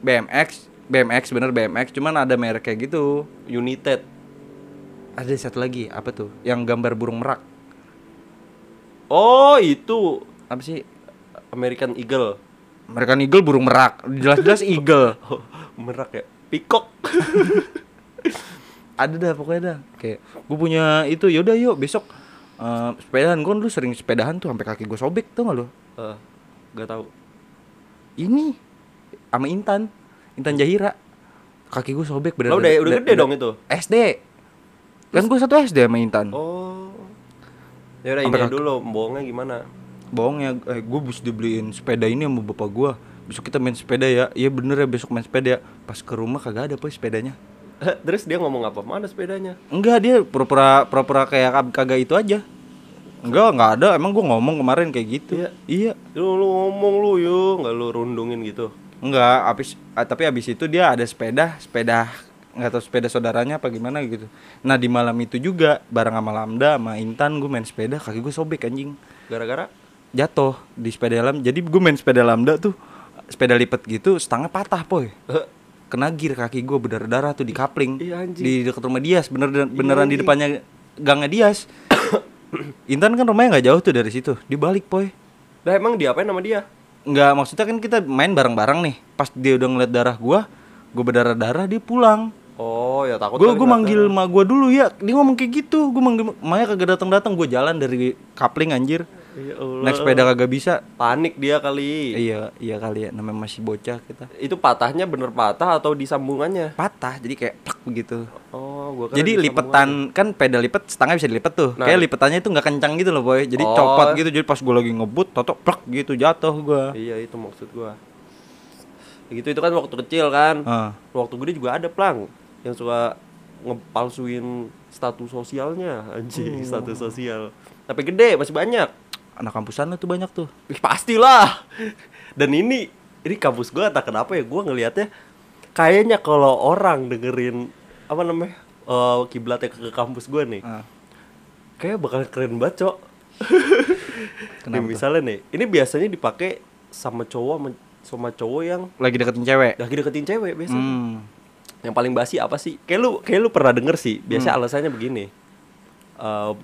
BMX BMX bener BMX cuman ada merek kayak gitu United ada satu lagi apa tuh yang gambar burung merak Oh itu apa sih American Eagle American Eagle burung merak jelas-jelas eagle oh, Merak ya Peacock ada dah pokoknya dah kayak gue punya itu yaudah yuk besok eh, sepedahan gue dulu sering sepedahan tuh sampai kaki gue sobek tuh nggak lo Eh, Gak tau ini sama Intan Intan Jahira kaki gue sobek bener Lo Oh, udah, udah gede dong itu SD kan gue satu SD sama Intan Oh Ya udah ini Sampai aja kaki. dulu bohongnya gimana bohongnya eh, gue bisa dibeliin sepeda ini sama bapak gue besok kita main sepeda ya iya bener ya besok main sepeda ya pas ke rumah kagak ada apa sepedanya Terus dia ngomong apa? Mana sepedanya? Enggak dia pura-pura pura-pura kayak kag- kagak itu aja. Enggak, enggak ada. Emang gua ngomong kemarin kayak gitu. Iya. Iya. Lu, lu ngomong lu yuk Gak lu rundungin gitu Enggak, abis ah, tapi abis itu dia ada sepeda, sepeda nggak tahu sepeda saudaranya apa gimana gitu nah di malam itu juga bareng sama Lambda sama Intan gue main sepeda kaki gue sobek anjing Gara-gara jatuh di sepeda lam jadi gue main sepeda lambda tuh sepeda lipat gitu setengah patah poy kena gear kaki gue berdarah-darah tuh di kapling Iya, anjing. Iya, di dekat rumah Dias bener beneran di depannya gangnya Dias Intan kan rumahnya nggak jauh tuh dari situ dia balik poy Lah emang diapain sama dia? nggak maksudnya kan kita main bareng-bareng nih pas dia udah ngeliat darah gue gue berdarah-darah dia pulang Oh ya takut gue kali gue kata. manggil ma gue dulu ya dia ngomong kayak gitu gue manggil Maya kagak datang datang gue jalan dari kapling anjir Ya Allah. naik sepeda kagak bisa Panik dia kali Iya, iya kali ya namanya masih bocah kita. Itu patahnya bener patah atau disambungannya? Patah jadi kayak plak begitu. Oh gua kira Jadi disambungan. lipetan kan pedal lipet setengah bisa dilipet tuh. Nah. Kayak lipetannya itu nggak kencang gitu loh, boy. Jadi Oh. copot gitu. Jadi pas gue lagi ngebut, totok plak gitu jatuh gua. Iya itu maksud gua Gitu itu kan waktu kecil kan Heeh. Waktu gede juga ada plang Yang suka ngepalsuin status sosialnya Anjing status sosial Tapi gede masih banyak Anak kampusan tuh banyak tuh. Ih, pastilah. Dan ini ini kampus gua tak kenapa ya gua ngelihatnya kayaknya kalau orang dengerin apa namanya eh, kiblatnya ke ke kampus gua nih, Ah. kayak bakal keren banget, Cok. Nih, Kenapa tuh? misalnya nih, ini biasanya dipakai sama cowok sama- sama cowok yang Lagi deketin cewek. lagi deketin cewek biasanya. Hmm. Yang paling basi apa sih? Kayak lu kayak lu pernah denger sih. Biasanya Hmm. alasannya begini. Eh,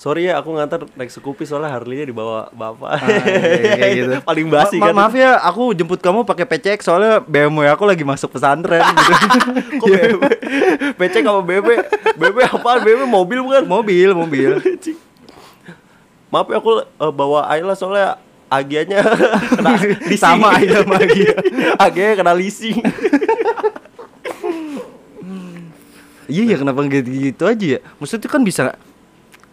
sorry ya aku ngantar naik sekupi soalnya Harley-nya dibawa bapak. Ah, iya, kayak gitu. paling basi Ma- ma- kan. Maaf ya, aku jemput kamu pakai PCX soalnya BMW aku lagi masuk pesantren gitu. Kok BB? PC apa BB? BB apaan? BB mobil bukan? mobil, mobil. Maaf ya aku eh, bawa Ayla soalnya agiannya kena leasing. Sama aja sama dia. agiannya kena leasing. Iya ya kenapa gitu gitu aja ya? Maksudnya itu kan bisa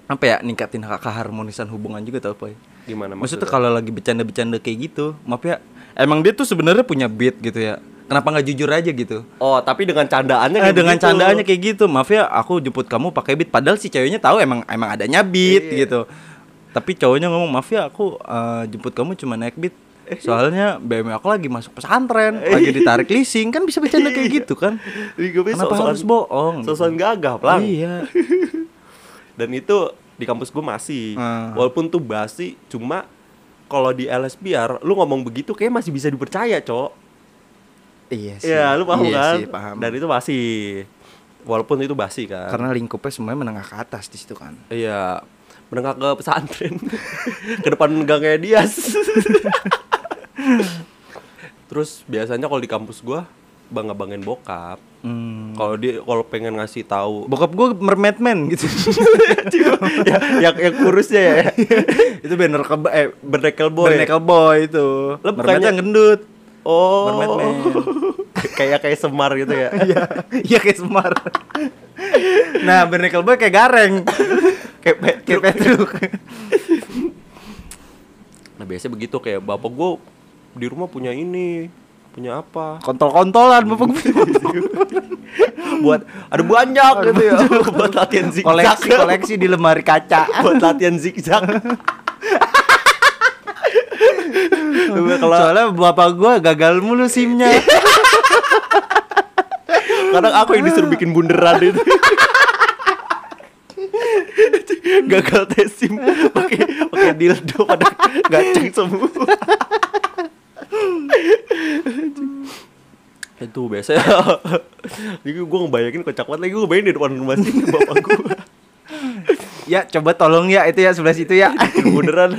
apa ya ningkatin ke- keharmonisan hubungan juga tau Poy. Gimana Maksudnya kalau lagi bercanda-bercanda kayak gitu, maaf ya. Emang dia tuh sebenarnya punya beat gitu ya. Kenapa nggak jujur aja gitu? Oh, tapi dengan candaannya Eh, kayak dengan begitu. candaannya kayak gitu, maaf ya aku jemput kamu pakai beat padahal si ceweknya tahu emang emang adanya Iya, beat gitu. Tapi cowoknya ngomong maaf ya aku eh, jemput kamu cuma naik beat. Eh. Soalnya BMW aku lagi masuk pesantren, lagi ditarik leasing kan bisa bercanda kayak gitu kan? iya. Ih, gue bisa Kenapa sosokan- harus bohong? Sosokan gagah, Plang. Iya. Dan itu di kampus gue masih. Ah. Walaupun tuh basi, cuma kalau di LSPR lu ngomong begitu kayak masih bisa dipercaya, Cok. Iya sih. Iya, lu paham Iya kan? sih, paham. Dan itu basi. Walaupun itu basi kan. Karena lingkupnya semuanya menengah ke atas di situ kan. Iya, menengah ke pesantren. ke depan gangnya Dias. Terus biasanya kalau di kampus gua bangga-banggain bokap. Hmm. Kalau dia kalau pengen ngasih tahu Bokap gue mermaid man gitu. ya, yang yang kurusnya ya. itu banner ke eh Berdekel boy. boy. boy itu. Lah, mermaid bukannya- yang gendut. Oh. Mermaid man. kayak kayak semar gitu ya. Iya, iya kayak semar. nah, barnacle boy kayak gareng. kayak pe- kayak Petruk. Nah, biasanya begitu kayak bapak gua di rumah punya ini, punya apa? Kontol-kontolan bapak gue. Buat ada banyak gitu ya. Buat latihan zigzag. koleksi koleksi di lemari kaca. buat latihan zigzag. Kalau Soalnya bapak gue gagal mulu simnya. kadang aku yang disuruh bikin bunderan itu. Gagal tes SIM pakai pakai dildo pada gaceng semua. itu biasanya jadi gue ngebayangin kocak banget lagi gue ngebayangin di depan rumah sini bapak gue ya, coba tolong ya itu ya sebelah situ ya. bunderan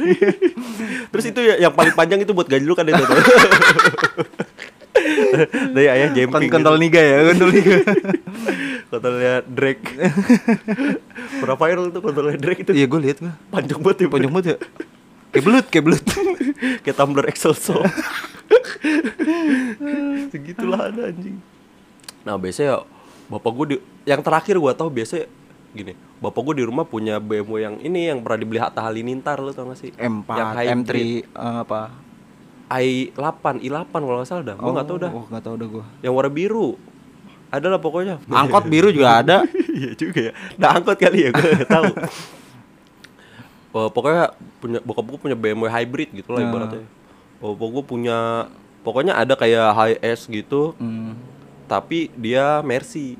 terus itu ya- yang paling panjang itu buat gaji lu kan itu tuh. dari ayah Kon jemping kontol niga ya, kontol niga. Kontrolnya Drake Pernah viral tuh kontrolnya Drake itu Iya, gue lihat gue. Panjang banget ya Panjang banget ya. Kayak belut, kayak belut. Kayak tumbler Excel so Segitulah ada anjing Nah biasanya Bapak gue di Yang terakhir gue tahu biasanya Gini Bapak gue di rumah punya BMW yang ini Yang pernah dibeli Hatta Halilintar lo tau gak sih Yang M4, M3 hybrid. eh, apa? i8 i8 kalau nggak salah dah gue nggak tahu dah Oh, nggak tahu dah gue. yang warna biru adalah pokoknya Angkot biru juga ada. iya juga ya nah angkot kali ya gue nggak tahu Eh, pokoknya punya bokap gue punya BMW hybrid gitu lah ibaratnya oh, bokap gue punya pokoknya ada kayak high S gitu Hmm. tapi dia Mercy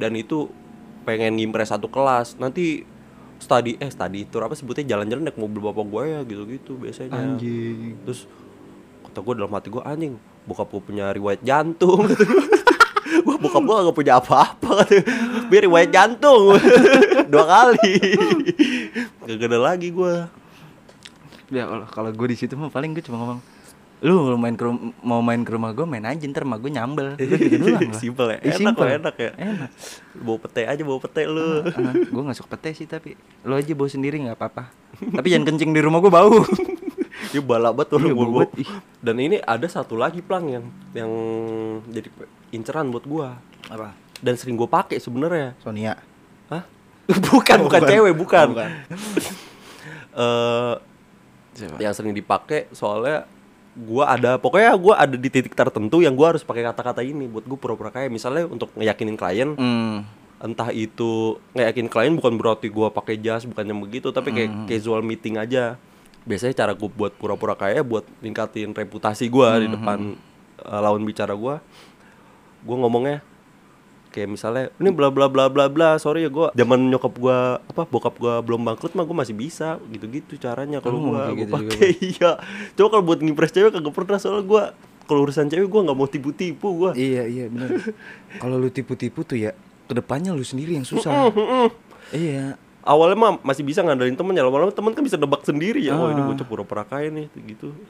dan itu pengen ngimpress satu kelas nanti study eh study tour apa sebutnya jalan-jalan naik mobil bapak gue ya gitu-gitu biasanya Anjing. terus kata gue dalam hati gue anjing bokap gue punya riwayat jantung kata gue Gua bokap gue gak punya apa-apa kata gue. biar riwayat jantung dua kali gak ada lagi gue Ya Allah, kalau gue di situ mah paling gue cuma ngomong lu kalau main ke rum- mau main ke rumah gue main aja ntar mah gue nyambel Udah gitu doang gua. Simpel ya? Ih, Enak simpel. kok, enak ya? enak Ah. bawa pete aja bawa pete lu gue nggak suka pete sih tapi lo aja bawa sendiri nggak apa-apa tapi jangan kencing di rumah gue bau Dia balak banget tuh Iya, gua- balak gua- banget, ih. Dan ini ada satu lagi plang yang yang jadi inceran buat gua apa dan sering gua pakai sebenarnya. Sonia Hah? bukan, bukan, bukan. cewek, bukan. Oh, bukan. Eh, siapa yang sering dipakai soalnya gua ada pokoknya gua ada di titik tertentu yang gua harus pakai kata-kata ini buat gua pura-pura kayak misalnya untuk ngeyakinin klien hmm, entah itu ngeyakinin klien bukan berarti gua pakai jas bukan yang begitu tapi kayak casual meeting aja biasanya cara gue buat pura-pura kaya buat ningkatin reputasi gua di depan eh, lawan bicara gua gua ngomongnya kayak misalnya ini bla bla bla bla bla sorry ya gua zaman nyokap gua apa bokap gua belum bangkrut mah gua masih bisa gitu-gitu caranya kalau Lu ngomong gua kayak gua gitu juga, pakai iya coba kalau buat ngimpress cewek kagak pernah soalnya gua kalau urusan cewek gua nggak mau tipu-tipu gua iya iya benar kalau lu tipu-tipu tuh ya kedepannya lu sendiri yang susah iya awalnya mah masih bisa ngandelin temen ya lama-lama temen kan bisa nebak sendiri ya oh ini bocah pura-pura kaya nih gitu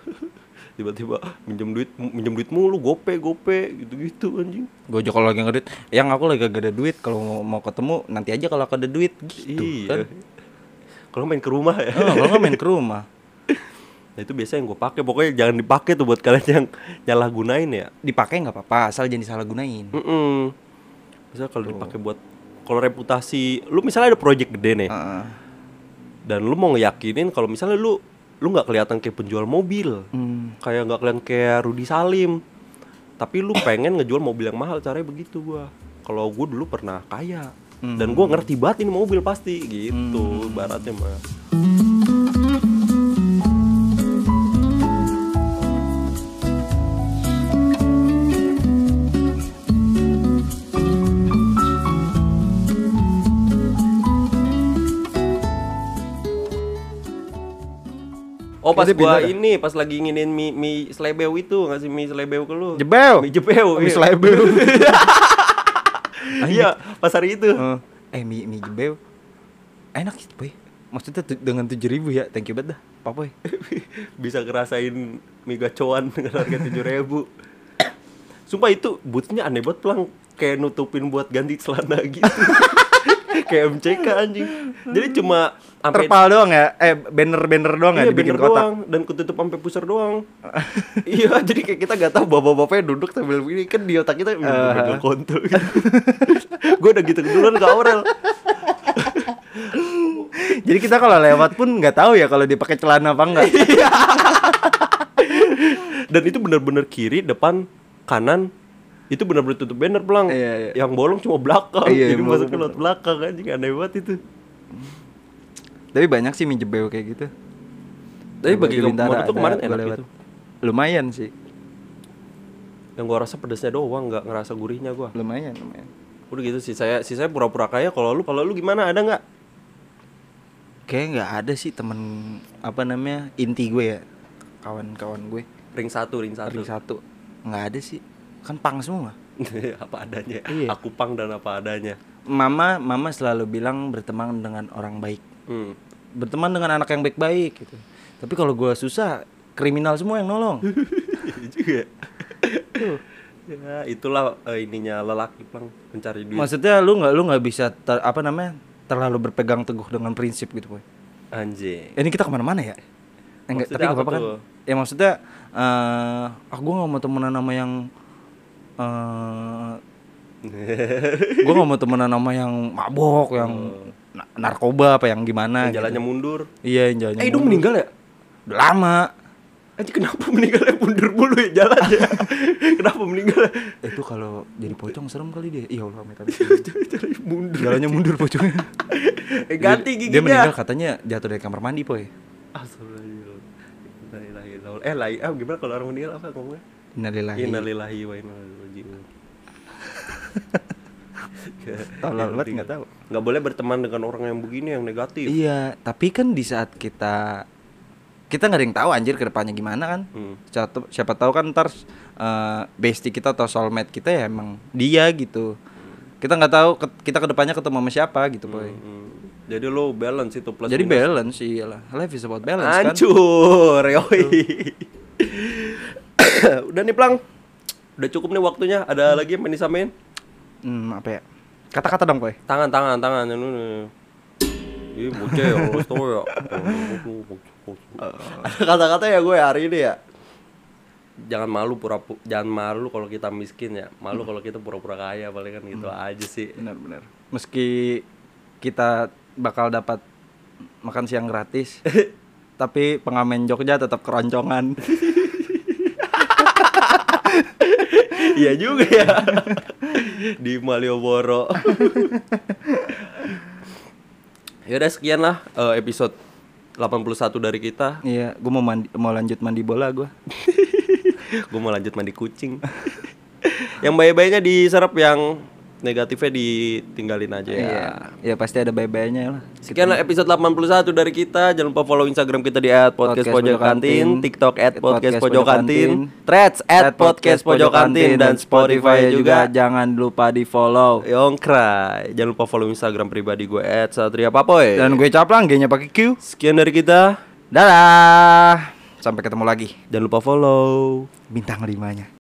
tiba-tiba minjem duit minjem duit mulu gope gope gitu-gitu anjing Gojek kalau lagi ngedit, yang aku lagi gak ada duit kalau mau, mau ketemu nanti aja kalau aku ada duit gitu iya kan. kalau main ke rumah ya Oh, kalau nggak main ke rumah. nah itu biasanya yang gue pakai pokoknya jangan dipakai tuh buat kalian yang nyalah gunain ya Dipakai nggak apa-apa, asal jangan disalahgunain. Mm-mm. misalnya kalau dipakai buat kalau reputasi lu misalnya ada project gede nih Heeh. dan lu mau ngeyakinin kalau misalnya lu lu nggak kelihatan kayak penjual mobil Hmm. kayak nggak kelihatan kayak Rudi Salim tapi lu pengen ngejual mobil yang mahal caranya begitu gua kalau gua dulu pernah kaya dan Hmm. gua ngerti banget ini mobil pasti gitu baratnya mah Oh pas Kayaknya gua pindah dah. ini pas lagi nginin mie, mie selebew itu ngasih mie selebew ke lu. Jebel. Oh, Mie jebeu. Mie iya. selebel. Iya, pas hari itu. Heeh. eh mie mie jebel. Enak sih, Boy. Maksudnya tu- dengan 7000 ya. Thank you banget dah, Pak Boy. Bisa ngerasain mie gacoan dengan harga 7000. Sumpah itu bootnya aneh banget pelang kayak nutupin buat ganti celana gitu. kayak MCK anjing. Jadi cuma sampai Terpal doang ya? Eh banner-banner doang ya Iya dibikin bener kotak. doang dan ketutup sampai pusar doang. iya, jadi kayak kita gak tahu bapak-bapaknya duduk sambil ini kan di otak Eh. kita uh kontol. Gue udah gitu duluan ke Aurel. Jadi kita kalau lewat pun nggak tahu ya kalau dipakai celana apa enggak. Dan itu bener-bener kiri, depan, kanan itu bener-bener tutup banner pelang. Iya, iya. Yang bolong cuma belakang. Iya, jadi yang masuk ke bolong. lewat belakang anjing aneh banget itu. Tapi banyak sih mie jebel kayak gitu. Tapi bagi Di gue Bintara menurut tuh ada, kemarin gua enak gitu. lewat. itu. Lumayan sih. Yang gue rasa pedasnya doang, nggak ngerasa gurihnya gue. Lumayan, lumayan. Udah gitu sih saya, sih saya pura-pura kaya. Kalau lu, kalau lu gimana? Ada nggak? Kayaknya nggak ada sih temen apa namanya inti gue ya kawan-kawan gue Ring satu, ring satu. ring satu nggak ada sih kan pang semua apa adanya Iya. aku pang dan apa adanya mama mama selalu bilang berteman dengan orang baik hmm. berteman dengan anak yang baik-baik gitu tapi kalau gue susah kriminal semua yang nolong Iya juga ya itulah eh, ininya lelaki pang mencari duit maksudnya lu nggak lu nggak bisa ter- apa namanya terlalu berpegang teguh dengan prinsip gitu boy anjing ini kita kemana-mana ya enggak Maksudnya tapi nggak apa apa-apa kan tuh? ya maksudnya eh ah gue nggak mau temenan sama yang eh gue nggak mau temenan sama yang mabok yang Hmm. na- narkoba apa yang gimana gitu. jalannya mundur iya yang jalannya eh hidung mulu. meninggal ya udah lama anjing kenapa meninggalnya mundur mulu ya jalannya kenapa meninggal Eh, itu kalau jadi pocong serem kali dia iya Allah amit amit. cari mundur jalannya mundur pocongnya eh, ganti Dia- giginya dia meninggal katanya jatuh dari kamar mandi poy Astagfirullahaladzim. Innalillahi- eh lai ah gimana kalau orang meninggal apa ngomongnya Innalillahi innalillahi wa inna ilaihi rajiun Tahun lalu banget nggak tahu. nggak boleh berteman dengan orang yang begini yang negatif Iya, tapi kan di saat kita kita nggak ada yang tahu anjir kedepannya gimana kan. Hmm. Siapa, siapa tahu kan ntar eh, bestie kita atau soulmate kita ya emang dia gitu. Kita nggak tahu ke- kita kedepannya ketemu sama siapa gitu boy. Hmm. jadi lo balance itu plus Jadi minus. balance iyalah. Life is about balance kan. hancur yoi udah nih plang udah cukup nih waktunya ada lagi yang mau disamain Hmm, apa ya? Kata-kata dong boy. tangan tangan tangan yang ini Ih, bocah ya, lo tau ya. Ada kata-kata ya gue hari ini ya. Jangan malu pura jangan malu kalau kita miskin ya. Malu kalau kita pura-pura kaya paling kan gitu aja sih. Benar-benar. Meski kita bakal dapat makan siang gratis, tapi pengamen Jogja tetap keroncongan. Iya juga ya. Di Malioboro. Yaudah sekian lah eh, episode 81 dari kita. Iya, gue mau mandi, mau lanjut mandi bola gue. gue mau lanjut mandi kucing yang baik-baiknya diserap yang negatifnya ditinggalin aja ya Iya, pasti ada bye-bye-nya lah. Gitu. Sekianlah episode 81 dari kita. Jangan lupa follow Instagram kita di at podcast pojok kantin, TikTok at podcast pojok kantin, Threads at podcast pojok kantin, dan Spotify juga. Jangan lupa di follow. Yongkrai. Jangan lupa follow Instagram pribadi gue at Satria Papoy. Dan gue caplang, G-nya pakai Q. Sekian dari kita. Dadah. Sampai ketemu lagi. Jangan lupa follow. Bintang limanya.